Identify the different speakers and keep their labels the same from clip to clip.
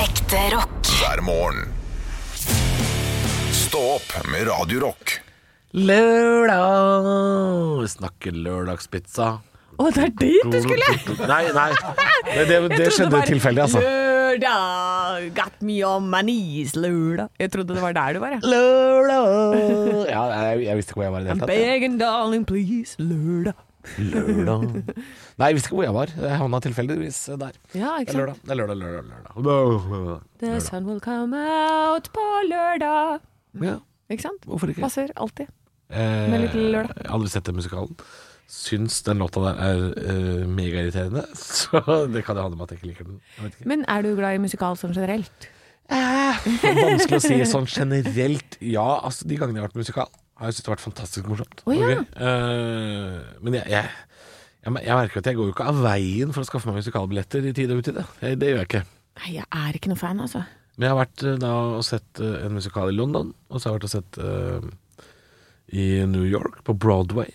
Speaker 1: Ekte rock.
Speaker 2: hver morgen. Stå opp med Radio Rock.
Speaker 3: Lørdag Snakke lørdagspizza.
Speaker 4: Å, det er dit du skulle!
Speaker 3: Nei, nei. Det, det, det
Speaker 4: Jeg trodde
Speaker 3: skjedde
Speaker 4: var
Speaker 3: tilfeldig, altså.
Speaker 4: Lørdag, got me on my knees, lørdag. Jeg trodde det var der du var, jeg.
Speaker 3: Lørdag Ja, jeg, jeg visste ikke hvor jeg var i det hele
Speaker 4: I'm
Speaker 3: tatt.
Speaker 4: begging, darling, please, lørdag.
Speaker 3: jeg. Lørdag Nei, jeg visste ikke hvor jeg var. Jeg havna tilfeldigvis der.
Speaker 4: Ja,
Speaker 3: Det er
Speaker 4: ikke sant?
Speaker 3: lørdag, det er lørdag, lørdag. lørdag.
Speaker 4: The sun will come out på lørdag.
Speaker 3: lørdag. Ja,
Speaker 4: Ikke sant?
Speaker 3: hvorfor ikke?
Speaker 4: Passer alltid.
Speaker 3: Eh,
Speaker 4: Med litt lørdag.
Speaker 3: Jeg har aldri sett den musikalen. Syns den låta der er eh, megairriterende, så det kan det handle om at jeg ikke liker den. Jeg vet ikke.
Speaker 4: Men er du glad i musikal sånn generelt?
Speaker 3: Vanskelig å si sånn generelt ja. Altså, de gangene jeg har vært musikal, har jeg syntes det har vært fantastisk morsomt.
Speaker 4: Å, ja.
Speaker 3: Og gøy. Eh, men jeg, jeg, jeg, mer- jeg merker at jeg går jo ikke av veien for å skaffe meg musikalbilletter i tide og utide. Eh, Det gjør jeg ikke.
Speaker 4: Nei, jeg er ikke noe fan, altså.
Speaker 3: Men jeg har vært eh, da og sett eh, en musikal i London, og så har jeg vært og sett eh, i New York, på Broadway.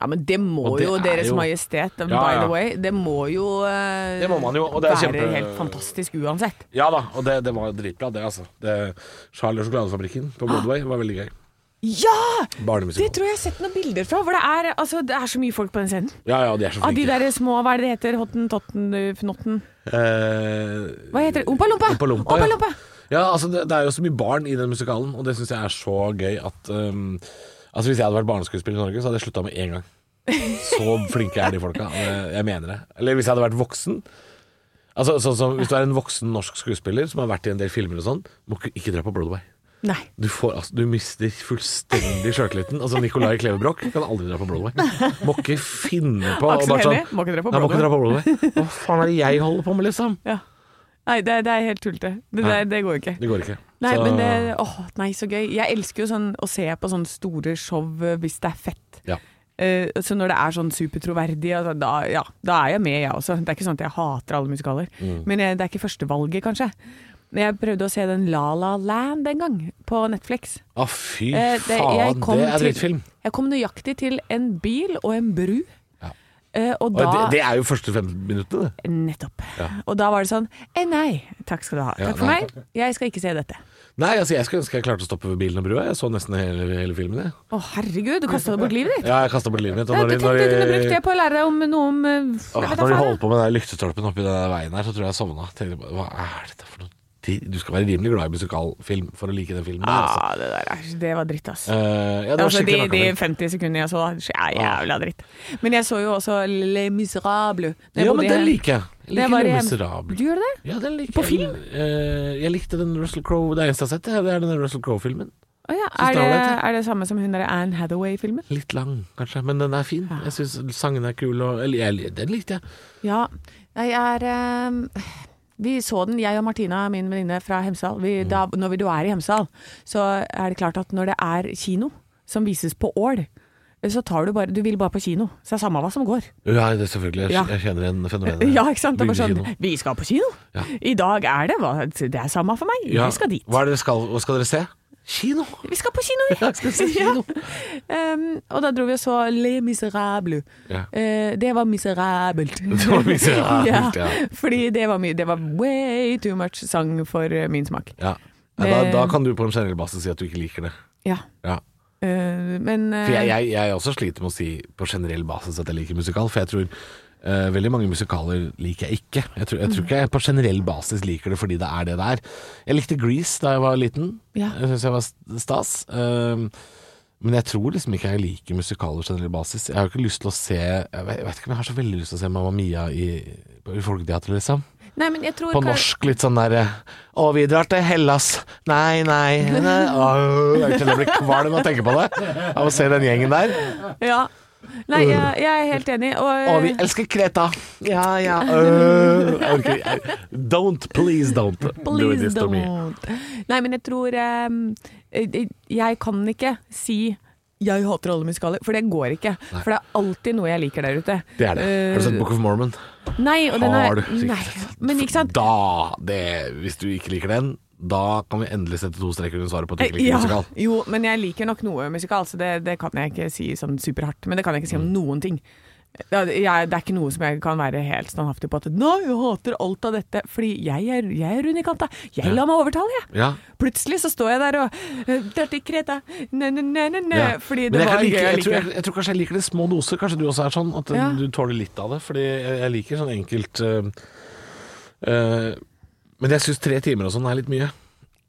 Speaker 4: Ja, men det må
Speaker 3: Og det
Speaker 4: jo
Speaker 3: er
Speaker 4: Deres
Speaker 3: jo-
Speaker 4: Majestet, um, by
Speaker 3: ja.
Speaker 4: the way, det må jo eh,
Speaker 3: Det må man jo, og det er
Speaker 4: være
Speaker 3: kjempe-
Speaker 4: helt fantastisk uansett.
Speaker 3: Ja da, og det, det var dritbra, det, altså. Det, Charlie og sjokoladefabrikken på Broadway var veldig gøy.
Speaker 4: Ja! Ah. Det
Speaker 3: Barnemusikal.
Speaker 4: tror jeg jeg har sett noen bilder fra, hvor det er, altså, det er så mye folk på den scenen.
Speaker 3: Ja ja, de er så
Speaker 4: Av Ah, de
Speaker 3: flinke.
Speaker 4: der små, hva er det det heter? Hottentotten-fnotten?
Speaker 3: Eh,
Speaker 4: Hva heter det? Ompa Lompa!
Speaker 3: Ompa Lompa,
Speaker 4: Ompa
Speaker 3: ja.
Speaker 4: Lompa!
Speaker 3: Ja, altså det, det er jo så mye barn i den musikalen, og det syns jeg er så gøy at um, Altså Hvis jeg hadde vært barneskuespiller i Norge, så hadde jeg slutta med en gang. Så flinke er de folka. og det- Jeg mener det. Eller hvis jeg hadde vært voksen Altså sånn som Hvis du er en voksen norsk skuespiller som har vært i en del filmer og sånn, må ikke, ikke dra på Broadway.
Speaker 4: Nei.
Speaker 3: Du, får, altså, du mister fullstendig sjøltilliten. Altså Nicolai Klevebrok kan aldri dra på Broadway. Må ikke finne på
Speaker 4: Aksel
Speaker 3: og bare sånn,
Speaker 4: Hennie, må ikke dra på
Speaker 3: Nei, må ikke
Speaker 4: Broadway.
Speaker 3: dra på Broadway. Hva faen er det jeg holder på med, liksom?
Speaker 4: Ja. Nei, det, det er helt tullete. Det, det, det går ikke.
Speaker 3: Det går ikke.
Speaker 4: Nei,
Speaker 3: Så-
Speaker 4: men det, åh, nei, så gøy. Jeg elsker jo sånn å se på sånne store show eh, hvis det er fett.
Speaker 3: ja.
Speaker 4: Eh, så når det er sånn supertroverdig, altså, da, ja, da er jeg med, jeg også. Det er ikke sånn at jeg hater alle musikaler.
Speaker 3: Mm.
Speaker 4: Men jeg, det er ikke førstevalget, kanskje. Men jeg prøvde å se den La La Land en gang, på Netflix.
Speaker 3: Å, fy
Speaker 4: Eh, det- jeg
Speaker 3: faen,
Speaker 4: kom
Speaker 3: det er
Speaker 4: til-
Speaker 3: drittfilm.
Speaker 4: Jeg kom nøyaktig til en bil og en bru.
Speaker 3: Ja.
Speaker 4: Eh, og
Speaker 3: Og
Speaker 4: da
Speaker 3: det, det er jo første fem minuttene, det.
Speaker 4: Nettopp. Og da var det sånn eh, Nei, takk skal du ha.
Speaker 3: Ja,
Speaker 4: Takk for
Speaker 3: nei.
Speaker 4: meg, jeg skal ikke se dette.
Speaker 3: Nei, altså jeg skulle ønske jeg klarte å stoppe ved bilen og brua. Jeg så nesten hele, hele filmen, jeg.
Speaker 4: Å herregud, du kasta bort livet ditt.
Speaker 3: Ja, jeg kasta bort livet mitt. Og
Speaker 4: Nei,
Speaker 3: når
Speaker 4: du
Speaker 3: de,
Speaker 4: tenkte
Speaker 3: når
Speaker 4: du kunne brukt
Speaker 3: de,
Speaker 4: det på å lære deg om noe om eh,
Speaker 3: Åh,
Speaker 4: jeg vet da
Speaker 3: når de
Speaker 4: faen,
Speaker 3: holdt på med den der lyktestolpen oppi den der veien her, så tror jeg jeg sovna. Tenkte bare, Hva er dette for noe? De- Du skal være rimelig glad i musikalfilm for å like den filmen. der, Altså.
Speaker 4: Ah, det der er, det var dritt, ass.
Speaker 3: Eh, ja, det var
Speaker 4: Altså, de,
Speaker 3: skikkelig
Speaker 4: de
Speaker 3: nakkafilm.
Speaker 4: 50 sekundene jeg så, er jævla dritt. Men jeg så jo også Le Miserable. når jeg
Speaker 3: Ja,
Speaker 4: bodde
Speaker 3: men
Speaker 4: i-
Speaker 3: den liker jeg. Jeg
Speaker 4: Det
Speaker 3: liker
Speaker 4: var
Speaker 3: Le
Speaker 4: i-
Speaker 3: Miserable.
Speaker 4: Du gjør det?
Speaker 3: Ja, den liker
Speaker 4: På
Speaker 3: jeg.
Speaker 4: film?
Speaker 3: Eh, jeg likte den Russell Crowe Det eneste jeg har sett, det er den Russell Crowe-filmen.
Speaker 4: Å ja.
Speaker 3: Synes
Speaker 4: er,
Speaker 3: det var
Speaker 4: det,
Speaker 3: ålreit,
Speaker 4: er det samme som hun der Anne Hathaway-filmen?
Speaker 3: Litt lang, kanskje, men den er fin. Jeg syns sangene er kule, og eller, jeg, den likte jeg.
Speaker 4: Ja. Jeg er eh, Vi så den, jeg og Martina, min venninne fra Hemsedal. Vi,
Speaker 3: Mm.
Speaker 4: da, når vi, du er i Hemsedal, så er det klart at når det er kino som vises på Ål, eh, så tar du bare Du vil bare på kino. Så det er samme hva som går.
Speaker 3: Ja, det er selvfølgelig. Jeg,
Speaker 4: Ja.
Speaker 3: jeg kjenner igjen fenomenet.
Speaker 4: Ja, ikke sant? Det er bare sånn
Speaker 3: Bygdekino.
Speaker 4: Vi skal på kino!
Speaker 3: Ja.
Speaker 4: I dag er det hva- Det er samme for meg.
Speaker 3: Ja.
Speaker 4: Vi skal dit.
Speaker 3: Hva er det dere skal, hva skal dere se? Kino!
Speaker 4: Vi skal på kino, vi!
Speaker 3: Ja, skal se kino.
Speaker 4: Em, og da dro vi og så Le Miserable.
Speaker 3: Ja.
Speaker 4: Eh, det var miserabelt.
Speaker 3: Det var miserabelt, ja.
Speaker 4: Fordi det var mye Det var way too much sang for eh, min smak.
Speaker 3: Ja. Ja, da,
Speaker 4: Eh.
Speaker 3: da kan du på en generell basis si at du ikke liker det.
Speaker 4: Ja.
Speaker 3: Ja.
Speaker 4: Eh, men eh,
Speaker 3: For jeg, jeg, jeg også sliter med å si på generell basis at jeg liker musikal, for jeg tror eh, veldig mange musikaler liker jeg ikke. Jeg tror, jeg tror ikke jeg på generell basis liker det fordi det er det det er. Jeg likte Grease da jeg var liten.
Speaker 4: Ja.
Speaker 3: Jeg syns jeg var st- stas. Um, men jeg tror liksom ikke jeg liker musikaler på generell basis. Jeg har jo ikke lyst til å se Jeg vet, jeg vet ikke om jeg har så veldig lyst til å se Mamma Mia i, i Folketeatret, liksom.
Speaker 4: Nei, men jeg tror
Speaker 3: På
Speaker 4: kan-
Speaker 3: norsk litt sånn derre Å, vi drar til Hellas. Nei, nei, nei. Åh, Jeg kjenner jeg blir kvalm av å tenke på det. Av å se den gjengen der.
Speaker 4: Ja. Nei, jeg, jeg er helt enig. Og, eh,
Speaker 3: Å, vi elsker Kreta. Ja, ja. Øh, jeg orker ikke. Don't, please don't do
Speaker 4: Please
Speaker 3: this to me.
Speaker 4: don't. Nei, men jeg tror em, eh, Jeg kan ikke si jeg hater alle musikaler, for det går ikke. For det er alltid noe jeg liker der ute.
Speaker 3: Det er det. Har du sett Book of Mormon?
Speaker 4: Eh, Nei, og den
Speaker 3: Har
Speaker 4: er
Speaker 3: du? sikkert
Speaker 4: nei,
Speaker 3: sett.
Speaker 4: Men ikke sant?
Speaker 3: Da, det, hvis du ikke liker den, da kan vi endelig sette to streker under svaret på at du ikke liker
Speaker 4: Ja,
Speaker 3: musikal. Mm.
Speaker 4: jo, men jeg liker nok noe musikal, så det, det kan jeg ikke si sånn superhardt. Men det kan jeg ikke si om noen ting. Ja, det- Jeg, det er ikke noe som jeg kan være helt standhaftig på at Nei, jeg hater alt av dette. Fordi jeg er, jeg er unikant, da. Jeg lar meg overtale, jeg.
Speaker 3: Ja.
Speaker 4: Plutselig så står jeg der og eh, Dirty Kreta, ne, ne, ne, ne, ne.
Speaker 3: Ja.
Speaker 4: eh, Fordi
Speaker 3: Men
Speaker 4: det
Speaker 3: jeg kan
Speaker 4: var
Speaker 3: like,
Speaker 4: gøy
Speaker 3: jeg, tror,
Speaker 4: allikevel.
Speaker 3: jeg, jeg tror kanskje jeg liker det i små doser. Kanskje du også er sånn at eh,
Speaker 4: Ja.
Speaker 3: du tåler litt av det. Fordi jeg, jeg liker sånn enkelt eh, eh, Men jeg syns tre timer og sånn er litt mye.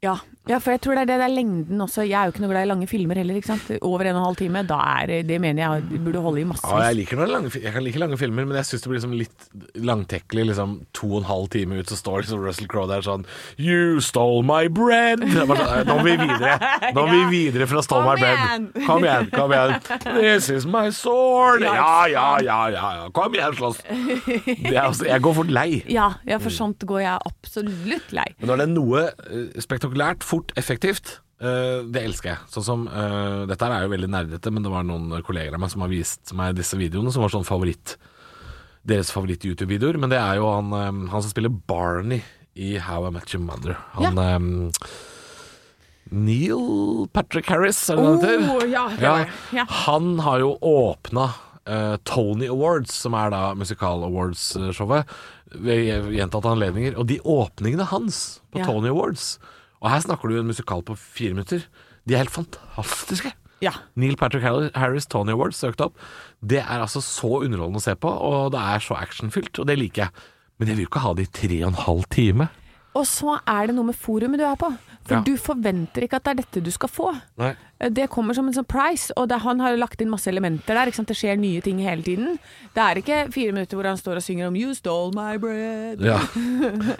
Speaker 4: Ja. ja, for jeg tror det er det, det er lengden også. Jeg er jo ikke noe glad i lange filmer heller, ikke sant. Over en og en halv time. Da er det- Det mener jeg det burde holde i
Speaker 3: Ja, jeg,
Speaker 4: massevis.
Speaker 3: liker når det er lange, fi- jeg kan like lange filmer, men jeg syns det blir liksom litt langtekkelig. Liksom, to og en halv time ut, så står liksom Russell Crowe der sånn You stole my bread! Det er bare sånn, Nå må vi videre! Nå må vi videre fra Stole
Speaker 4: Kom
Speaker 3: my bread.
Speaker 4: igjen!
Speaker 3: Kom igjen! kom igjen This is my sword! Ja, ja, ja, ja. ja. Kom igjen, slåss! Det er også- Jeg går fort lei.
Speaker 4: Ja, ja, for sånt går jeg absolutt lei.
Speaker 3: Men når det er noe eh, spektakulært, fort, effektivt eh, det elsker jeg. Sånn som, eh, dette her er jo veldig nerdete, men det var noen kolleger av meg som har vist meg disse videoene, som var sånn favoritt deres favoritt-YouTube-videoer. Men det er jo han, eh, han som spiller Barney i How I Met Your Mother. Han eh, Neil Patrick Harris, er det det han
Speaker 4: Oh,
Speaker 3: heter?
Speaker 4: ja, det var det. Ja.
Speaker 3: Han har jo åpna eh, Tony Awards, som er da Musikal Awards-showet, ved gjentatte anledninger. Og de åpningene hans på
Speaker 4: Ja.
Speaker 3: Tony Awards Og her snakker du en musikal på fire minutter. De er helt fantastiske.
Speaker 4: Ja.
Speaker 3: Neil Patrick Harri- Harris Tony Awards søkte opp. Det er altså så underholdende å se på, og det er så actionfylt, og det liker jeg. Men jeg vil jo ikke ha det i tre og en halv time.
Speaker 4: Og så er det noe med forumet du er på. For
Speaker 3: Ja.
Speaker 4: du forventer ikke at det er dette du skal få.
Speaker 3: Nei.
Speaker 4: Det kommer som en sånn price, og det, han har jo lagt inn masse elementer der. Ikke sant? Det skjer nye ting hele tiden. Det er ikke fire minutter hvor han står og synger om 'You stole my bread'.
Speaker 3: Ja.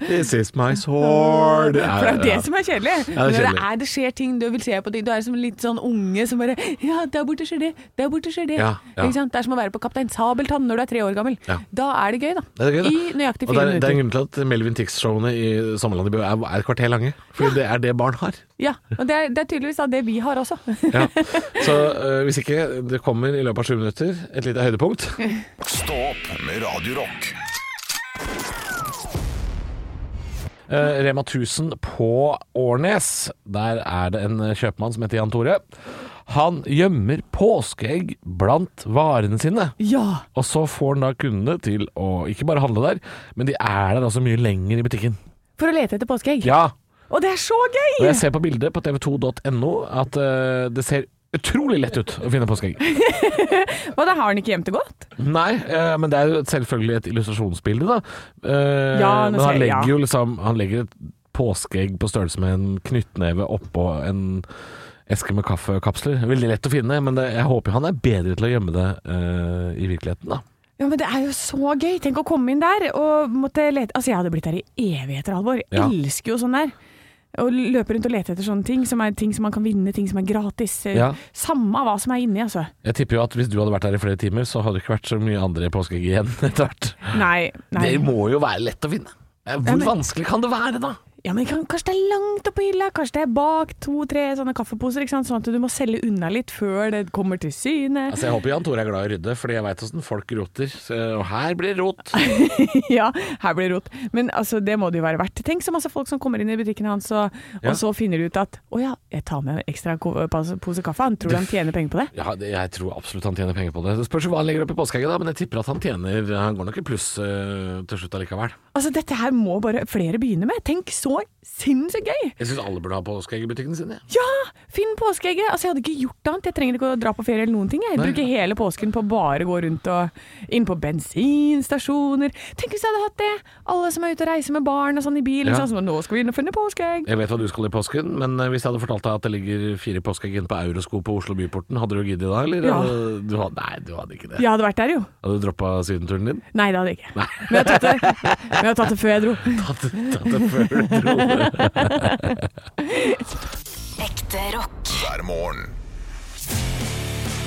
Speaker 3: This is my sword.
Speaker 4: For det er jo det
Speaker 3: Ja.
Speaker 4: som er
Speaker 3: Ja,
Speaker 4: kjedelig.
Speaker 3: det er
Speaker 4: Når det,
Speaker 3: kjedelig.
Speaker 4: er, det skjer ting du vil se på ting. Du er som en litt sånn unge som bare 'Ja, der borte skjer det. Der borte skjer det.'
Speaker 3: Ja, ja.
Speaker 4: Ikke sant? Det er som å være på Kaptein Sabeltann når du er tre år gammel.
Speaker 3: Ja.
Speaker 4: Da er det gøy, da.
Speaker 3: Det er gøy, da.
Speaker 4: I nøyaktig
Speaker 3: Og det
Speaker 4: fire
Speaker 3: er, det er en
Speaker 4: minutter.
Speaker 3: grunn til at Melvin Tix-showene i Sommerland i Bø er, er et kvarter lange. For det er det barn har.
Speaker 4: Ja, og det er, det er tydeligvis da det vi har også.
Speaker 3: Ja. Så øh, hvis ikke det kommer i løpet av sju minutter et lite høydepunkt
Speaker 2: Stå opp med Radio Rock.
Speaker 3: Eh, Rema 1000 på Årnes. Der er det en eh, kjøpmann som heter Jan Tore. Han gjemmer påskeegg blant varene sine.
Speaker 4: Ja!
Speaker 3: Og så får han da kundene til å ikke bare handle der, men de er der også mye lenger i butikken.
Speaker 4: For å lete etter påskeegg.
Speaker 3: Ja,
Speaker 4: Og det er så gøy!
Speaker 3: Og jeg ser på bildet på tv2.no at eh, det ser utrolig lett ut å finne påskeegg.
Speaker 4: Og da har han ikke gjemt det godt.
Speaker 3: Nei, eh, men det er jo et- selvfølgelig et illustrasjonsbilde, da. Eh,
Speaker 4: Ja, nå
Speaker 3: men han
Speaker 4: ser jeg, ja.
Speaker 3: legger jo liksom Han legger et påskeegg på størrelse med en knyttneve oppå en eske med kaffekapsler. Veldig lett å finne, men det, jeg håper jo han er bedre til å gjemme det eh, i virkeligheten, da.
Speaker 4: Ja, men Det er jo så gøy! Tenk å komme inn der og måtte lete Altså, jeg hadde blitt der i evigheter, Halvor. Jeg
Speaker 3: Ja.
Speaker 4: Elsker jo sånn der. Å løpe rundt og lete etter sånne ting, som er ting som man kan vinne, ting som er gratis. Eh,
Speaker 3: Ja.
Speaker 4: Samme hva som er inni, altså.
Speaker 3: Jeg tipper jo at hvis du hadde vært der i flere timer, så hadde det ikke vært så mye andre påskeegg igjen etter hvert.
Speaker 4: Nei. nei.
Speaker 3: Det må jo være lett å finne. Eh, Hvor
Speaker 4: Ja, men-
Speaker 3: vanskelig kan det være, da?
Speaker 4: Ja, men kan, Kanskje det er langt oppe på hylla, kanskje det er bak to-tre sånne kaffeposer, ikke sant? sånn at du må selge unna litt før det kommer til syne.
Speaker 3: Altså, Jeg håper Jan Tore er glad i å rydde, fordi jeg veit åssen folk roter. Så, og her blir det rot.
Speaker 4: ja, her blir det rot. Men altså, det må det jo være verdt. Tenk så masse folk som kommer inn i butikken hans, og,
Speaker 3: Ja.
Speaker 4: og så finner de ut at å ja, jeg tar med en ekstra ko- pose pose kaffe. Han tror han tjener penger på det.
Speaker 3: Ja, det, jeg tror absolutt han tjener penger på det. Det spørs jo hva han legger opp i påskeegget, da, men jeg tipper at han tjener Han går nok i pluss eh, til slutt allikevel.
Speaker 4: Altså, dette her må bare flere begynne med. Tenk så sinnssykt gøy!
Speaker 3: Jeg syns alle burde ha påskeegg i butikkene sine. jeg.
Speaker 4: Ja! Finn påskeegget! Altså, jeg hadde ikke gjort annet. Jeg trenger ikke å dra på ferie eller noen ting. Jeg
Speaker 3: Nei.
Speaker 4: bruker hele påsken på å bare gå rundt og inn på bensinstasjoner. Tenk hvis jeg hadde hatt det! Alle som er ute og reiser med barn og sånn i bil.
Speaker 3: Ja.
Speaker 4: Sånn, som, nå skal vi inn og finne påskeegg!
Speaker 3: Jeg vet hva du skal i påsken, men eh, hvis jeg hadde fortalt deg at det ligger fire påskeegg inne på Eurosko på Oslo Byporten, hadde du giddet da, eller?
Speaker 4: Ja.
Speaker 3: Hadde- Du hadde, nei, du hadde ikke det.
Speaker 4: Jeg hadde vært der, jo.
Speaker 3: Hadde du droppa sydenturen din?
Speaker 4: Nei, det hadde jeg ikke. Men jeg har tatt det, men jeg har tatt det før jeg dro.
Speaker 3: Tatt, tatt det før du dro det.
Speaker 1: Ekte rock.
Speaker 2: hver morgen.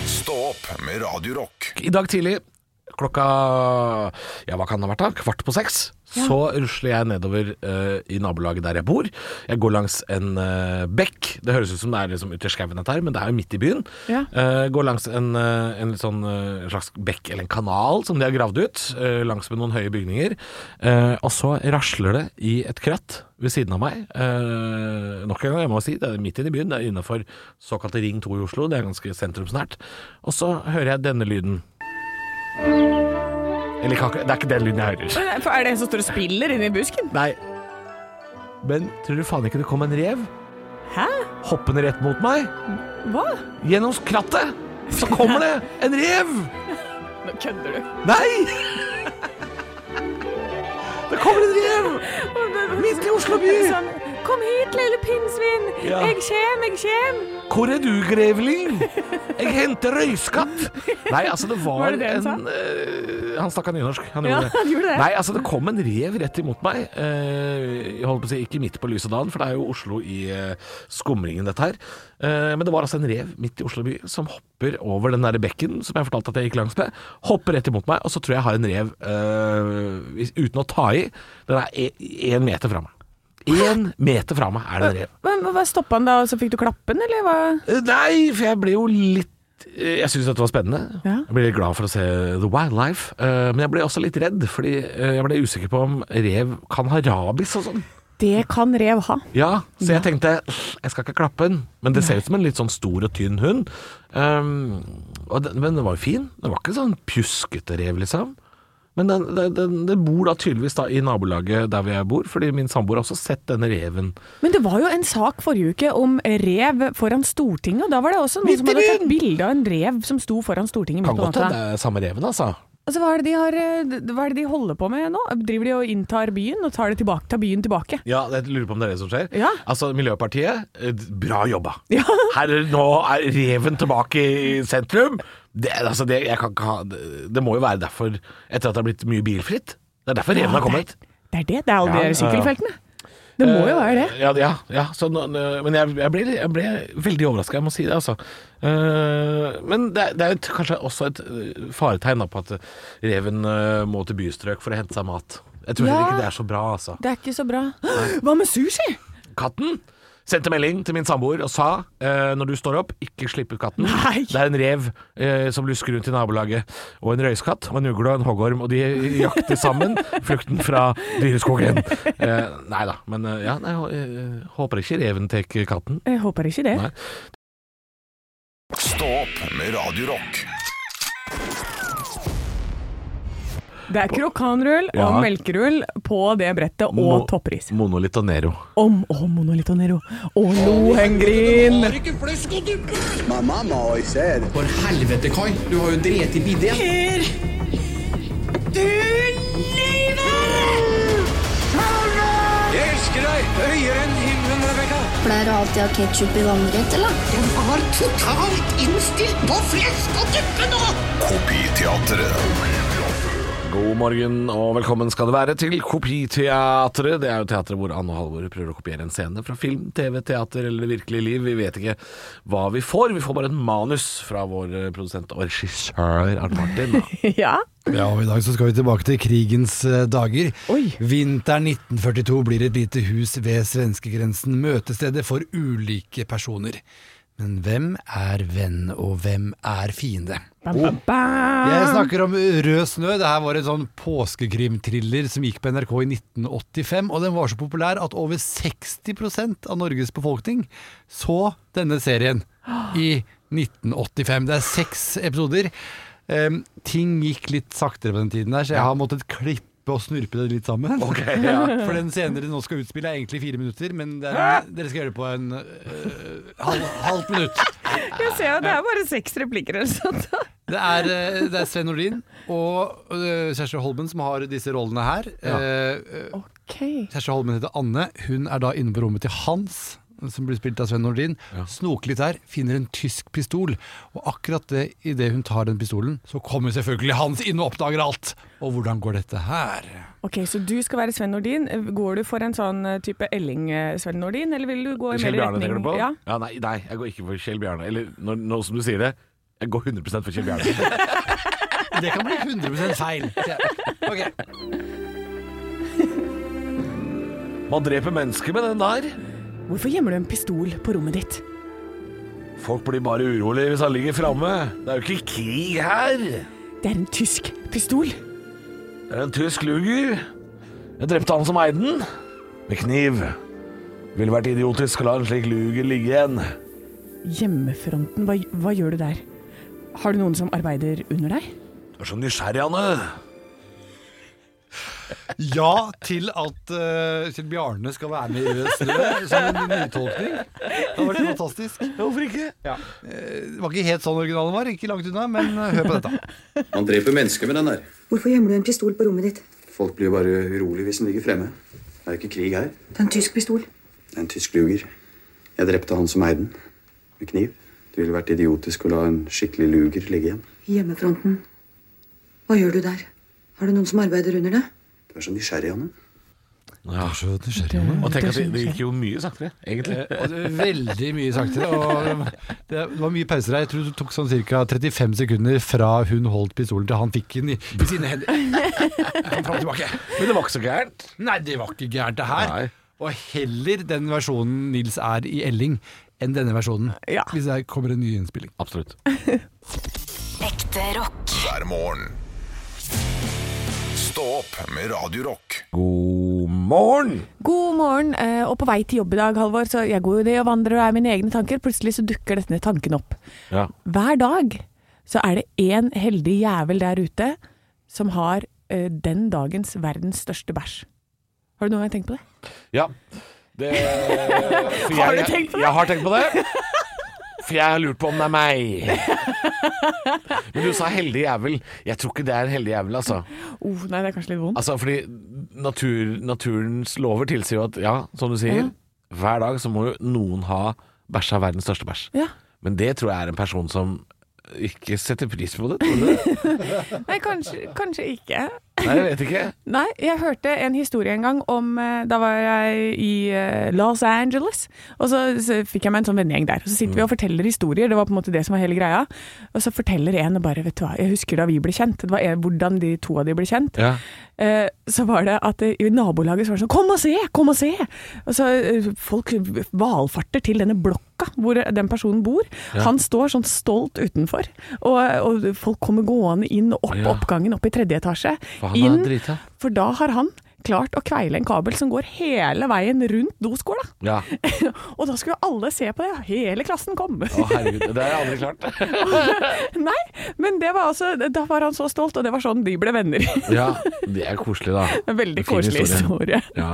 Speaker 2: Stå opp med Radio Rock.
Speaker 3: I dag tidlig klokka ja, hva kan det ha vært da? kvart på seks, så rusler jeg nedover eh, i nabolaget der jeg bor. Jeg går langs en eh, bekk. Det høres ut som det er liksom ute i skauen dette her, men det er jo midt i byen.
Speaker 4: Ja.
Speaker 3: Eh, går langs en, eh, en litt sånn eh, en slags bekk eller en kanal som de har gravd ut, eh, langs med noen høye bygninger. Eh, og så rasler det i et kratt ved siden av meg. Eh, nok en gang, jeg må si, det er midt inne i byen, det er innafor såkalte Ring 2 i Oslo, det er ganske sentrumsnært. Og så hører jeg denne lyden. Eller kake. Det er ikke den lyden jeg hører.
Speaker 4: Men Er det en som står og spiller inni busken?
Speaker 3: Nei. Men tror du faen ikke det kom en rev
Speaker 4: Hæ?
Speaker 3: hoppende rett mot meg?
Speaker 4: Hva?
Speaker 3: Gjennom krattet så kommer det en rev!
Speaker 4: Nå kødder du.
Speaker 3: Nei! Det kommer en rev! Midt i Oslo by!
Speaker 4: Sånn, Kom hit, lille pinnsvin!
Speaker 3: Ja.
Speaker 4: Jeg kjem, jeg kjem!
Speaker 3: Hvor er du, grevling? Jeg henter røyskatt! Nei, altså, det var,
Speaker 4: Var det det han
Speaker 3: en
Speaker 4: sa?
Speaker 3: eh, Han snakka nynorsk. Han
Speaker 4: Ja,
Speaker 3: gjorde det.
Speaker 4: han gjorde det.
Speaker 3: Nei, altså, det kom en rev rett imot meg. Eh, jeg holdt på å si ikke midt på lyse dagen, for det er jo Oslo i eh, skumringen, dette her. Eh, men det var altså en rev midt i Oslo by som hopper over den derre bekken som jeg fortalte at jeg gikk langs med. Hopper rett imot meg, og så tror jeg jeg har en rev eh, hvis- uten å ta i. Den er én meter fra meg. Én meter fra meg er det en rev.
Speaker 4: Men hva- hva Stoppa han da, og så fikk du klappen, eller hva?
Speaker 3: Eh, Nei, for jeg ble jo litt eh, jeg syntes dette var spennende.
Speaker 4: Ja.
Speaker 3: Jeg ble litt glad for å se The Wildlife. eh, Men jeg ble også litt redd, fordi eh, jeg ble usikker på om rev kan ha rabies og sånn.
Speaker 4: Det kan rev ha.
Speaker 3: Ja, Så jeg tenkte jeg skal ikke klappe den. Men det ser ut som en litt sånn stor og tynn hund. Um, og den, men den var jo fin. Den var ikke sånn pjuskete rev, liksom. Men den, den, den, den bor da tydeligvis da i nabolaget der hvor jeg bor, fordi min samboer har også sett denne reven.
Speaker 4: Men det var jo en sak forrige uke om rev foran Stortinget, og da var det også noen
Speaker 3: Midt
Speaker 4: som
Speaker 3: i
Speaker 4: hadde tatt
Speaker 3: byen!
Speaker 4: bilde av en rev som sto foran Stortinget midt
Speaker 3: Kan
Speaker 4: på
Speaker 3: godt hende
Speaker 4: natta.
Speaker 3: det er samme reven, altså.
Speaker 4: Altså, hva, er det de har, eh, hva er det de holder på med nå? Driver de og inntar byen, og tar, det tilbake, tar byen tilbake?
Speaker 3: Ja, jeg lurer på om det er det som skjer.
Speaker 4: Ja.
Speaker 3: Altså, Miljøpartiet, eh, bra jobba.
Speaker 4: Ja.
Speaker 3: Her, er- nå er reven tilbake i sentrum. Det, altså, det, jeg kan ikke ha, det, det må jo være derfor, etter at det har blitt mye bilfritt. Det er derfor reven har kommet.
Speaker 4: Det er det. Det er alle
Speaker 3: Ja,
Speaker 4: de sykkelfeltene. Det må jo være det.
Speaker 3: Eh, Ja, ja, ja så, nå- nå- men jeg, jeg, ble, jeg ble veldig overraska, jeg må si det, altså. Eh, men det, er- det er jo et- kanskje også et eh, faretegn da, på at reven eh, må til bystrøk for å hente seg mat. Jeg tror
Speaker 4: Ja.
Speaker 3: heller ikke det er så bra, altså.
Speaker 4: Det er ikke så bra. Hva med sushi?
Speaker 3: Katten sendte melding til min samboer og sa eh, når du står opp, ikke slipp ut katten.
Speaker 4: Nei.
Speaker 3: Det er en rev eh, som lusker rundt i nabolaget, og en røyskatt, og en ugle og en hoggorm, og de jakter sammen flukten fra dyreskogen. Eh, nei da, men eh, ja, nei, hå- eh, håper ikke reven tar katten.
Speaker 4: Jeg håper ikke det.
Speaker 3: Nei.
Speaker 2: Stå opp med Radio Rock.
Speaker 4: Det er krokanrull og
Speaker 3: Ja.
Speaker 4: melkerull på det brettet, og
Speaker 3: Mo-
Speaker 4: toppris.
Speaker 3: Monolitt og Nero.
Speaker 4: Om og monolito nero. Og lohengrin!
Speaker 1: My mama always said,
Speaker 5: For helvete, Kai. Du har jo dret i bideen.
Speaker 6: Pleier du alltid å ha ketsjup i vannrett, eller?
Speaker 2: Kopiteatret.
Speaker 3: God morgen og velkommen skal det være til Kopiteatret. Det er jo teatret hvor Anne og Halvor prøver å kopiere en scene fra film, TV, teater eller det virkelige liv. Vi vet ikke hva vi får. Vi får bare et manus fra vår eh, produsent og regissør Arne Martin. da.
Speaker 4: Ja.
Speaker 7: Ja, og I dag så skal vi tilbake til krigens eh, dager.
Speaker 4: Oi.
Speaker 7: Vinteren 1942 blir et lite hus ved svenskegrensen møtestedet for ulike personer. Men hvem er venn, og hvem er fiende?
Speaker 4: Bam,
Speaker 3: Oh.
Speaker 4: bam, bam.
Speaker 7: Jeg snakker om Rød snø. Det her var en sånn påskekrimthriller som gikk på NRK i 1985. Og den var så populær at over 60 av Norges befolkning så denne serien i 1985. Det er seks episoder. Em, ting gikk litt saktere på den tiden her, så jeg har måttet klippe og snurpe det litt sammen. For den senere nå skal utspille er egentlig fire minutter, men det er, dere skal gjøre det på en øh, halv, halvt minutt.
Speaker 4: Jeg ser jo, det er bare seks replikker eller sånt.
Speaker 7: Det er, eh, det er Sven Nordin og eh, Kjersti Holmen som har disse rollene her. Eh, eh,
Speaker 4: Ok.
Speaker 7: Kjersti Holmen heter Anne. Hun er da inne på rommet til Hans, som blir spilt av Sven Nordin. Snoker litt der, finner en tysk pistol. Og akkurat det, idet hun tar den pistolen, så kommer selvfølgelig Hans inn og oppdager alt. Og hvordan går dette her?
Speaker 4: Ok, Så du skal være Sven Nordin. Går du for en sånn eh, type Elling-Sven Nordin, eller vil du gå i mer
Speaker 3: Kjell Bjarne, tenker du
Speaker 4: retning
Speaker 3: på?
Speaker 4: Ja.
Speaker 3: Ja, nei, nei, jeg går ikke for Kjell Bjarne. Eller nå, nå som du sier det, jeg går 100 for Kjell Bjarne.
Speaker 7: Det kan bli 100 feil. Ok.
Speaker 3: Man dreper mennesker med den der.
Speaker 4: Hvorfor gjemmer du en pistol på rommet ditt?
Speaker 3: Folk blir bare urolige hvis han ligger framme. Det er jo ikke krig her.
Speaker 4: Det er en tysk pistol.
Speaker 3: Det er en tysk luger. Jeg drepte han som eide den. Med kniv. Ville vært idiotisk å la en slik luger ligge igjen.
Speaker 4: Hjemmefronten, hva, hva gjør du der? Har du noen som arbeider under deg?
Speaker 3: Du er så nysgjerrig, Anne.
Speaker 7: ja til at eh, Kjell Bjarne skal være med i Rød snø som en nytolkning. Det hadde vært fantastisk.
Speaker 3: Hvorfor ikke?
Speaker 7: Det var ikke helt sånn originalen var, ikke langt unna, men eh, hør på dette.
Speaker 5: Han dreper mennesker med den der.
Speaker 8: Hvorfor gjemmer du en pistol på rommet ditt?
Speaker 5: Folk blir jo bare urolige hvis den ligger fremme. Det er jo ikke krig her.
Speaker 8: Det er en tysk pistol.
Speaker 5: Det er en tysk luger. Jeg drepte han som eide den. Med kniv. Det ville vært idiotisk å la en skikkelig luger ligge igjen.
Speaker 8: I hjemmefronten. Hva gjør du der? Har du noen som arbeider under deg?
Speaker 5: Du er så nysgjerrig, Anne.
Speaker 3: Ja.
Speaker 7: Så nysgjerrig om
Speaker 3: Og tenk at det, det gikk jo mye saktere, egentlig.
Speaker 7: Og det var veldig mye saktere. Og um, det var mye pauser her. Jeg tror det tok sånn ca. 35 sekunder fra hun holdt pistolen til han fikk den i, i sine hender. Kom fram og tilbake.
Speaker 3: Men det var ikke så gærent.
Speaker 7: Nei, det var ikke gærent, det her.
Speaker 3: Nei.
Speaker 7: Og heller den versjonen Nils er i Elling, enn denne versjonen.
Speaker 4: Ja.
Speaker 7: Hvis det kommer en ny innspilling.
Speaker 3: Absolutt.
Speaker 9: Ekte rock.
Speaker 2: hver morgen. Stå opp med Radio Rock.
Speaker 3: God morgen!
Speaker 4: God morgen, eh, og på vei til jobb i dag, Halvor, så jeg går jo det og vandrer og er mine egne tanker. Plutselig så dukker denne tanken opp.
Speaker 3: Ja.
Speaker 4: Hver dag så er det én heldig jævel der ute som har eh, den dagens verdens største bæsj. Har du noen gang tenkt på det?
Speaker 3: Ja. Det, for
Speaker 4: Har du
Speaker 3: jeg-
Speaker 4: tenkt på det?
Speaker 3: Jeg har tenkt på det. For jeg har lurt på om det er meg. Men du sa heldig jævel. Jeg tror ikke det er en heldig jævel, altså.
Speaker 4: Oh, nei, det er kanskje litt vondt.
Speaker 3: altså fordi natur, naturens lover tilsier jo at, ja, som du sier, hver dag så må jo noen ha bæsja verdens største bæsj.
Speaker 4: Ja.
Speaker 3: Men det tror jeg er en person som ikke setter pris på det. Tror du det?
Speaker 4: Nei, kanskje, kanskje ikke.
Speaker 3: Nei, jeg vet ikke.
Speaker 4: Nei, jeg hørte en historie en gang om eh, Da var jeg i eh, Los Angeles, og så, så fikk jeg meg en sånn vennegjeng der. Og så sitter vi og forteller historier, det var på en måte det som var hele greia. Og så forteller en og bare, vet du hva, jeg husker da vi ble kjent, det var en, hvordan de to av de ble kjent.
Speaker 3: Ja.
Speaker 4: Eh, så var det at eh, i nabolaget så var det sånn Kom og se! Kom og se! Og så eh, folk valfarter til denne blokka hvor den personen bor. Han står sånn stolt utenfor, og, og folk kommer gående inn og opp
Speaker 3: Ja.
Speaker 4: oppgangen, opp i tredje etasje.
Speaker 3: For han er
Speaker 4: Inn,
Speaker 3: drita.
Speaker 4: For da har han klart å kveile en kabel som går hele veien rundt doskåla.
Speaker 3: ja.
Speaker 4: og da skulle alle se på det. Hele klassen kom.
Speaker 3: Å herregud, det har jeg aldri klart.
Speaker 4: Nei, men det var altså Da var han så stolt, og det var sånn de ble venner.
Speaker 3: Ja, det er koselig da.
Speaker 4: Veldig
Speaker 3: Fin
Speaker 4: koselig historie.
Speaker 3: Ja.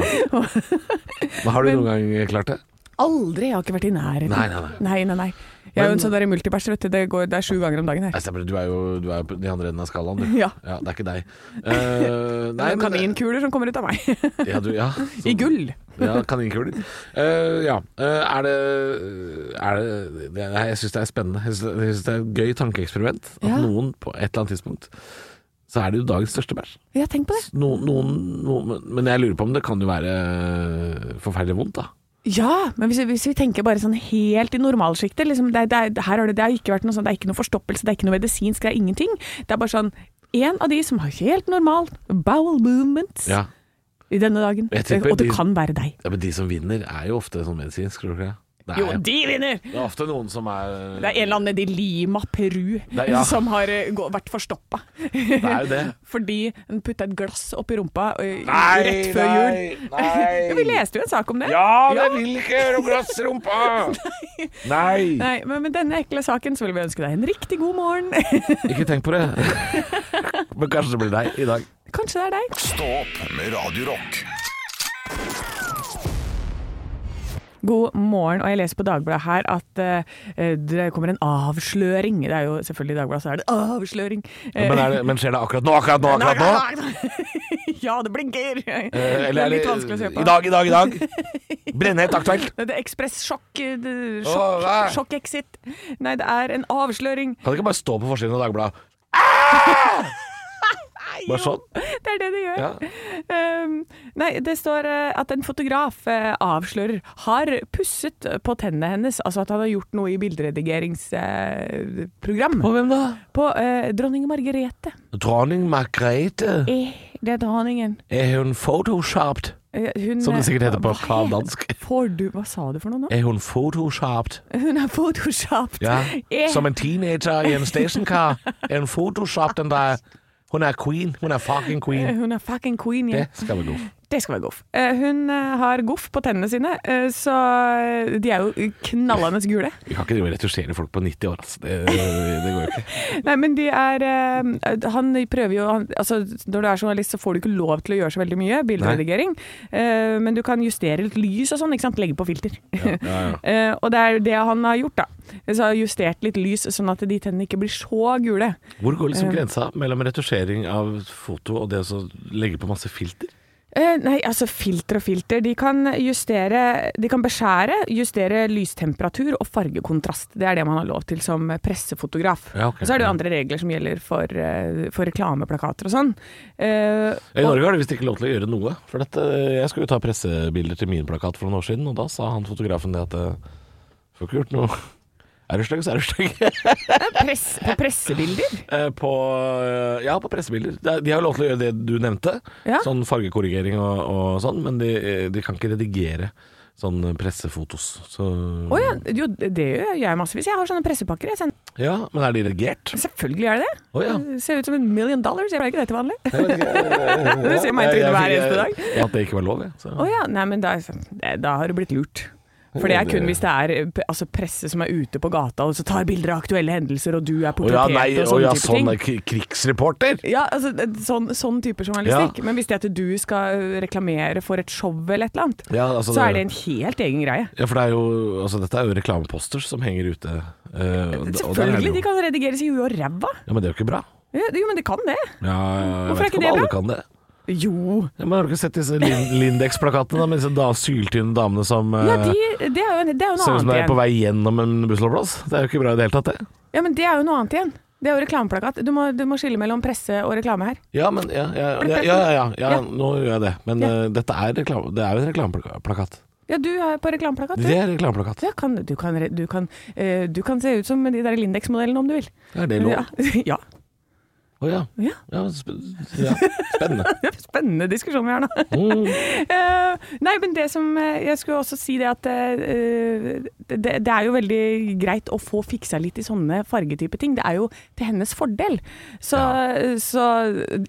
Speaker 3: Men har du noen gang klart det?
Speaker 4: Aldri, jeg har ikke vært i nærheten.
Speaker 3: Nei, nei,
Speaker 4: nei. nei, nei. Jeg er jo en sånn der multibæsj, vet du. Det, går, det er sju ganger om dagen her.
Speaker 3: Nei, stemmer det. Du er jo du er jo på den andre enden av skalaen, du.
Speaker 4: Ja.
Speaker 3: det er ikke deg. Eh,
Speaker 4: Det
Speaker 3: nei, men-
Speaker 4: er
Speaker 3: eh,
Speaker 4: kaninkuler som kommer ut av meg.
Speaker 3: Ja, du, ja. Så-
Speaker 4: I gull.
Speaker 3: Ja, kaninkuler. Eh, ja. Eh, er det, er det, det nei, Jeg syns det er spennende. Jeg syns det, jeg synes det er et gøy tankeeksperiment at
Speaker 4: Ja.
Speaker 3: noen på et eller annet tidspunkt så er det jo dagens største bæsj.
Speaker 4: Ja, tenk på det.
Speaker 3: No, noen, noen, men jeg lurer på om det kan jo være forferdelig vondt, da.
Speaker 4: Ja, men hvis, hvis vi tenker bare sånn helt i normalsjiktet liksom, det, er- det, er- her har det, det har ikke vært noe sånn, det er ikke noe forstoppelse, det er ikke noe medisinsk, det er ingenting. Det er bare sånn en av de som har helt normal bowel movements
Speaker 3: Ja.
Speaker 4: i denne dagen.
Speaker 3: Jeg tipper
Speaker 4: Og det
Speaker 3: de-
Speaker 4: kan være deg.
Speaker 3: ja, Men de som vinner, er jo ofte sånn medisinsk, tror jeg. Det er,
Speaker 4: Jo, de vinner!
Speaker 3: det er ofte noen som er
Speaker 4: Det er en eller annen nede i Lima, Peru,
Speaker 3: Det er- ja.
Speaker 4: som har eh, gå- vært forstoppa.
Speaker 3: Det er jo det.
Speaker 4: Fordi hun putta et glass oppi rumpa eh,
Speaker 3: Nei,
Speaker 4: rett før
Speaker 3: nei,
Speaker 4: jul.
Speaker 3: nei.
Speaker 4: Ja, Vi leste jo en sak om det.
Speaker 3: Ja, jeg vil ikke høre om glassrumpa! Nei.
Speaker 4: Nei, men med denne ekle saken så vil vi ønske deg en riktig god morgen.
Speaker 3: Ikke tenk på det. Men kanskje det blir deg i dag.
Speaker 4: Kanskje det er deg.
Speaker 2: Stå opp med Radio Rock.
Speaker 4: God morgen, og jeg leser på Dagbladet her at eh, det kommer en avsløring. Det er jo selvfølgelig i Dagbladet, så er det avsløring. Eh,
Speaker 3: Men, er det, men skjer det akkurat nå? Akkurat nå? akkurat nå?
Speaker 4: ja, det blinker!
Speaker 3: Eh,
Speaker 4: det
Speaker 3: eller
Speaker 4: er
Speaker 3: er
Speaker 4: litt vanskelig å se på.
Speaker 3: I dag, i dag, i dag. Brennhett aktuelt.
Speaker 4: Det er ekspress-sjokk.
Speaker 3: Åh,
Speaker 4: det-
Speaker 3: nei.
Speaker 4: Sjokk, sjokk-exit. Nei, det er en avsløring.
Speaker 3: Kan det ikke bare stå på forsiden av Dagbladet?
Speaker 4: Nei,
Speaker 3: Bare
Speaker 4: Ah! jo,
Speaker 3: sånn?
Speaker 4: Det er det det gjør.
Speaker 3: Ja.
Speaker 4: Um, nei, det står eh, at en fotograf eh, avslører har pusset på tennene hennes, altså at han har gjort noe i bilderedigeringsprogram.
Speaker 3: hvem da?
Speaker 4: på eh, dronning Margrethe.
Speaker 3: Dronning Margrethe.
Speaker 4: Eh, det er dronningen.
Speaker 3: Er hun photoshopped?
Speaker 4: Eh, hun,
Speaker 3: Som det sikkert heter på
Speaker 4: hva
Speaker 3: kravdansk.
Speaker 4: het- Får du, hva sa du for noe nå?
Speaker 3: Er hun photoshopped?
Speaker 4: Hun er photoshopped.
Speaker 3: Ja.
Speaker 4: Eh,
Speaker 3: Som en teenager i en stationcar. Er hun photoshopped, den der? Hun er queen. Hun er fucking queen.
Speaker 4: hun er fucking queen, ja.
Speaker 3: Det skal vi gå for.
Speaker 4: Det skal være goff. Eh, Hun eh, har goff på tennene sine, eh, så eh, de er jo knallende gule.
Speaker 3: Vi kan ikke drive og retusjere folk på 90 år, altså. Det, det går jo ikke.
Speaker 4: Nei, men de er eh, Han prøver jo han, altså, Når du er journalist, så får du ikke lov til å gjøre så veldig mye. Bilderedigering. Eh, men du kan justere litt lys og sånn. ikke sant? Legge på filter. Eh, og det er det han har gjort, da. Så har justert litt lys, sånn at de tennene ikke blir så gule.
Speaker 3: Hvor går liksom grensa mellom retusjering av foto og det å så legge på masse filter?
Speaker 4: Eh, nei, altså filter og filter. De kan justere De kan beskjære, justere lystemperatur og fargekontrast. Det er det man har lov til som pressefotograf.
Speaker 3: Ja, ok.
Speaker 4: Og Så er det jo andre regler som gjelder for, eh, for reklameplakater og sånn. Eh,
Speaker 3: I
Speaker 4: og,
Speaker 3: Norge har de visst ikke lov til å gjøre noe. For dette, jeg skulle jo ta pressebilder til min plakat for noen år siden, og da sa han fotografen det at eh, Får ikke gjort noe. Er du stygg, så er du stygg.
Speaker 4: press, på pressebilder?
Speaker 3: Eh, på, eh, ja, på pressebilder. Det er- De har jo lov til å gjøre det du nevnte,
Speaker 4: Ja.
Speaker 3: sånn fargekorrigering og, og sånn, men de, eh, de kan ikke redigere sånn pressefotos. Så,
Speaker 4: Å ja, jo, det gjør jeg massevis. Jeg har sånne pressepakker. Jeg sender.
Speaker 3: ja, men er de redigert?
Speaker 4: Selvfølgelig er det det.
Speaker 3: Å ja.
Speaker 4: Det Ser ut som en million dollars. Jeg pleier ikke det til vanlig.
Speaker 3: Du
Speaker 4: ser meg i trynet hver eneste dag.
Speaker 3: Ja, at det ikke var lov, jeg. Så.
Speaker 4: Å ja, nei, men da, sånn, da har du blitt lurt. For det er kun hvis det er p- altså, presse som er ute på gata og så tar bilder av aktuelle hendelser, og du
Speaker 3: Å
Speaker 4: er
Speaker 3: ja,
Speaker 4: portrettert
Speaker 3: nei,
Speaker 4: og
Speaker 3: å
Speaker 4: sånne
Speaker 3: ja,
Speaker 4: type
Speaker 3: sånn er
Speaker 4: ting.
Speaker 3: k- krigsreporter!
Speaker 4: Ja, altså, det- sånn, sånn type journalistikk. Men hvis det er at du skal øh, reklamere for et show eller et eller annet,
Speaker 3: Ja, altså,
Speaker 4: så er det
Speaker 3: det-
Speaker 4: en helt egen greie.
Speaker 3: Ja, for det er jo, altså, dette er jo reklameposter som henger ute. eh, og- og der er det
Speaker 4: Selvfølgelig,
Speaker 3: jo-
Speaker 4: de kan redigeres i huet og ræva.
Speaker 3: Ja, Men det er jo ikke bra.
Speaker 4: Ja, Jo, men de kan det.
Speaker 3: Ja, jeg
Speaker 4: Hvorfor er
Speaker 3: vet
Speaker 4: ikke
Speaker 3: om
Speaker 4: det
Speaker 3: alle
Speaker 4: bra?
Speaker 3: Kan det.
Speaker 4: Jo.
Speaker 3: Ja, men har du ikke sett disse Lin- Lindex-plakatene da, med disse da, syltynne damene som eh,
Speaker 4: Ja, de, det er jo, en- det er jo
Speaker 3: ser
Speaker 4: noe
Speaker 3: ut som de
Speaker 4: annet
Speaker 3: er på
Speaker 4: igjen.
Speaker 3: vei gjennom en bussholdeplass? Det er jo ikke bra i det hele tatt, det.
Speaker 4: Ja, men det er jo noe annet igjen. Det er jo reklameplakat. Du må, du må skille mellom presse og reklame her.
Speaker 3: Ja, men ja, ja, ja, ja, ja, ja, nå gjør jeg det. Men eh, dette er reklame, det er jo en reklameplakat.
Speaker 4: Ja, du er på reklameplakat. du.
Speaker 3: Det er reklameplakat.
Speaker 4: Ja, kan, du, kan, du, kan, eh, du kan se ut som de der Lindex-modellene om du vil.
Speaker 3: Er det lov?
Speaker 4: Ja.
Speaker 3: Å
Speaker 4: ja.
Speaker 3: ja.
Speaker 4: Ja.
Speaker 3: Ja, sp- ja. Spennende.
Speaker 4: Det er en Spennende diskusjon vi har nå.
Speaker 3: Mm.
Speaker 4: Eh, nei, men det som eh, Jeg skulle også si det at eh, det, det er jo veldig greit å få fiksa litt i sånne fargetype ting. Det er jo til hennes fordel. Så, så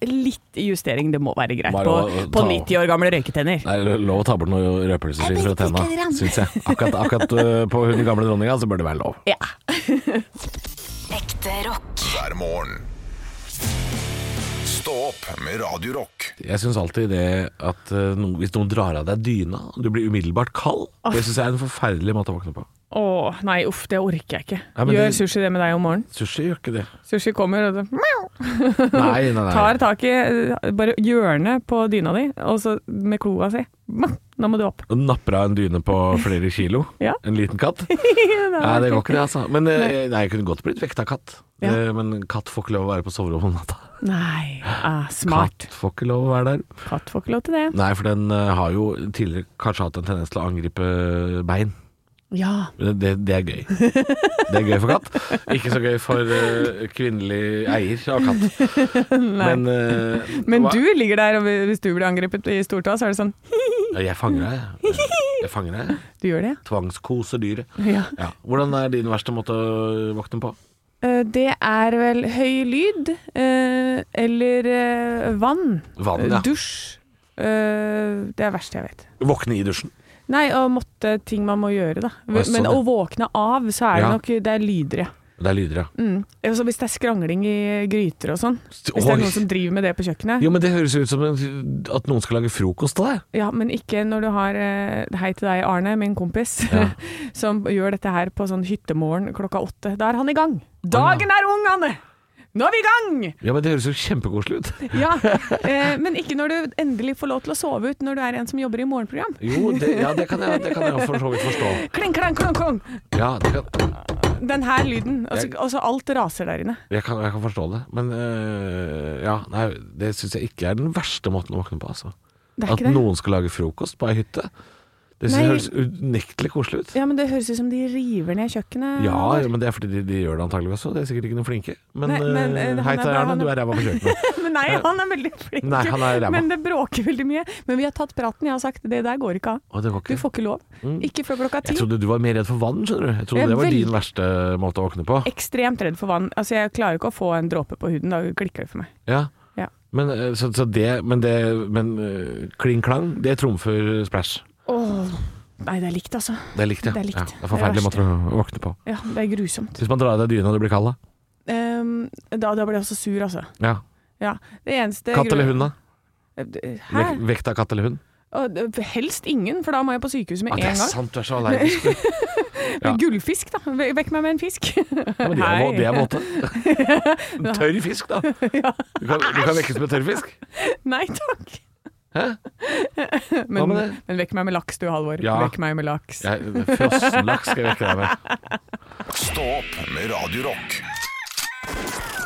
Speaker 4: litt justering, det må være greit
Speaker 3: Bare
Speaker 4: på,
Speaker 3: å-
Speaker 4: på
Speaker 3: ta-
Speaker 4: 90 år gamle røyketenner.
Speaker 3: Det er lov å ta bort noe røpelseskinn fra
Speaker 6: Jeg vet ikke,
Speaker 3: tenna,
Speaker 6: Ram.
Speaker 3: syns jeg. Akkurat, akkurat eh, på hun gamle dronninga så bør det være lov.
Speaker 4: Ja.
Speaker 9: Ekte rock.
Speaker 2: hver morgen. Stå opp med Radio Rock.
Speaker 3: Jeg syns alltid det at eh, no, hvis noen drar av deg dyna, du blir umiddelbart kald. Det syns jeg er en forferdelig måte å våkne på.
Speaker 4: Å nei, uff, det orker jeg ikke.
Speaker 3: Nei, men
Speaker 4: Gjør
Speaker 3: det-
Speaker 4: sushi det med deg om morgenen?
Speaker 3: Sushi gjør ikke det.
Speaker 4: Sushi kommer og det,
Speaker 3: Nei, nei, nei.
Speaker 4: tar tak i eh, bare hjørnet på dyna di, og så med kloa si. Nå må du opp.
Speaker 3: Og napper av en dyne på flere kilo.
Speaker 4: Ja.
Speaker 3: En liten katt. Nei,
Speaker 4: Nei,
Speaker 3: det går ikke det, altså. Men eh, nei, jeg kunne godt blitt vekta av katt.
Speaker 4: Ja.
Speaker 3: Eh, Men katt får ikke lov å være på soverommet om natta.
Speaker 4: Nei, ah, smart.
Speaker 3: Katt får ikke lov å være der.
Speaker 4: Katt. får ikke lov til det.
Speaker 3: Nei, for den eh, har jo tidligere kanskje hatt en tendens til å angripe eh, bein.
Speaker 4: Ja.
Speaker 3: Men Det, det er gøy. Det er gøy for katt. Ikke så gøy for eh, kvinnelig eier av katt. Men, eh,
Speaker 4: Men
Speaker 3: hva-
Speaker 4: du ligger der, og hvis du blir angrepet i stortåa, så er det sånn
Speaker 3: Ja, Jeg fanger deg. jeg. Jeg fanger deg.
Speaker 4: Du gjør det?
Speaker 3: Tvangskoser dyret.
Speaker 4: Ja.
Speaker 3: Ja. Hvordan er din verste måte å våkne på?
Speaker 4: Eh, Det er vel høy lyd eh, eller eh, vann.
Speaker 3: Vann, ja.
Speaker 4: Dusj. Eh, Det er verst jeg vet.
Speaker 3: Våkne i dusjen.
Speaker 4: Nei, og måtte ting man må gjøre, da.
Speaker 3: Å, sånn,
Speaker 4: Men
Speaker 3: ja.
Speaker 4: å våkne av, så er det
Speaker 3: Ja.
Speaker 4: nok Det er lyder, ja.
Speaker 3: Det er lyder, ja.
Speaker 4: Mm. Altså, hvis det er skrangling i gryter og sånn. Hvis det
Speaker 3: Oi.
Speaker 4: er noen som driver med det på kjøkkenet.
Speaker 3: Jo, men det høres ut som en- at noen skal lage frokost til deg.
Speaker 4: Ja, men ikke når du har eh, Hei til deg, Arne, min kompis, som gjør dette her på sånn hyttemorgen klokka åtte. Da er han i gang. Dagen er ung, Anne! Nå er vi i gang!
Speaker 3: Ja, men det høres jo kjempekoselig ut.
Speaker 4: Ja, eh, Men ikke når du endelig får lov til å sove ut når du er en som jobber i morgenprogram.
Speaker 3: Jo, det, ja, det kan jeg, det kan jeg for så vidt forstå.
Speaker 4: Kling, klang, klang, klang!
Speaker 3: Ja, det kan,
Speaker 4: Den her lyden. Og så og så alt raser der inne.
Speaker 3: jeg, kan, jeg kan forstå det. Men øh, ja, nei, det syns jeg ikke er den verste måten å våkne på, altså.
Speaker 4: Det er
Speaker 3: At
Speaker 4: ikke det.
Speaker 3: noen skal lage frokost på ei hytte. Det synes jeg
Speaker 4: Nei.
Speaker 3: høres unektelig koselig ut.
Speaker 4: Ja, men Det høres ut som de river ned kjøkkenet.
Speaker 3: Ja, ja, men det er fordi de, de gjør det antageligvis også. De er sikkert ikke noen flinke. Men,
Speaker 4: Nei, men,
Speaker 3: eh,
Speaker 4: eh, han
Speaker 3: hei
Speaker 4: er
Speaker 3: til
Speaker 4: bra,
Speaker 3: Arne,
Speaker 4: han er-
Speaker 3: du er ræva på kjøkkenet.
Speaker 4: Men nei, han er veldig flink.
Speaker 3: Nei, han er ræva.
Speaker 4: Men det bråker veldig mye. Men vi har tatt praten. Jeg har sagt det der går ikke av.
Speaker 3: Å, det var
Speaker 4: Du
Speaker 3: ikke.
Speaker 4: får ikke lov. Ikke før klokka
Speaker 3: Mm. Jeg
Speaker 4: ti.
Speaker 3: trodde du var mer redd for vann, skjønner du. Jeg
Speaker 4: Jeg
Speaker 3: trodde
Speaker 4: er
Speaker 3: det var
Speaker 4: veldig-
Speaker 3: din verste måte å våkne på.
Speaker 4: Ekstremt redd for vann. Altså, jeg klarer ikke å få en dråpe på huden. Da klikker det for meg.
Speaker 3: Ja.
Speaker 4: Ja.
Speaker 3: Men, eh, så, så det, men, det, men eh, kling klang, det trumfer splash.
Speaker 4: Åh, nei, det er likt, altså.
Speaker 3: Det er likt, ja.
Speaker 4: Det er likt.
Speaker 3: ja, det er forferdelig måte
Speaker 4: Det
Speaker 3: å våkne på.
Speaker 4: Ja, det er grusomt.
Speaker 3: Hvis man drar av deg dyna og du blir kald, da?
Speaker 4: Ehm, da, da blir jeg også sur, altså.
Speaker 3: Ja.
Speaker 4: Ja. Det eneste
Speaker 3: Katt eller hund, da?
Speaker 4: Eh, Hæ?
Speaker 3: Vek- Vekt av katt eller hund?
Speaker 4: Og, eh, Helst ingen, for da må jeg på sykehuset med
Speaker 3: Ah,
Speaker 4: en
Speaker 3: det er
Speaker 4: gang.
Speaker 3: sant, du er så allergisk. ja.
Speaker 4: Gullfisk, da. Ve- Vekk meg med en fisk.
Speaker 3: Ja, men de er,
Speaker 4: Hei.
Speaker 3: vå- de er våte. En tørr fisk, da. Du kan, du kan vekkes med tørr fisk.
Speaker 4: Nei takk.
Speaker 3: Hæ?
Speaker 4: Men,
Speaker 3: med det?
Speaker 4: men vekk meg med laks, du, Halvor.
Speaker 3: Ja.
Speaker 4: Vekk meg med laks.
Speaker 3: Ja, Frossenlaks skal jeg vekke deg med.
Speaker 2: Stå opp med Radio Rock.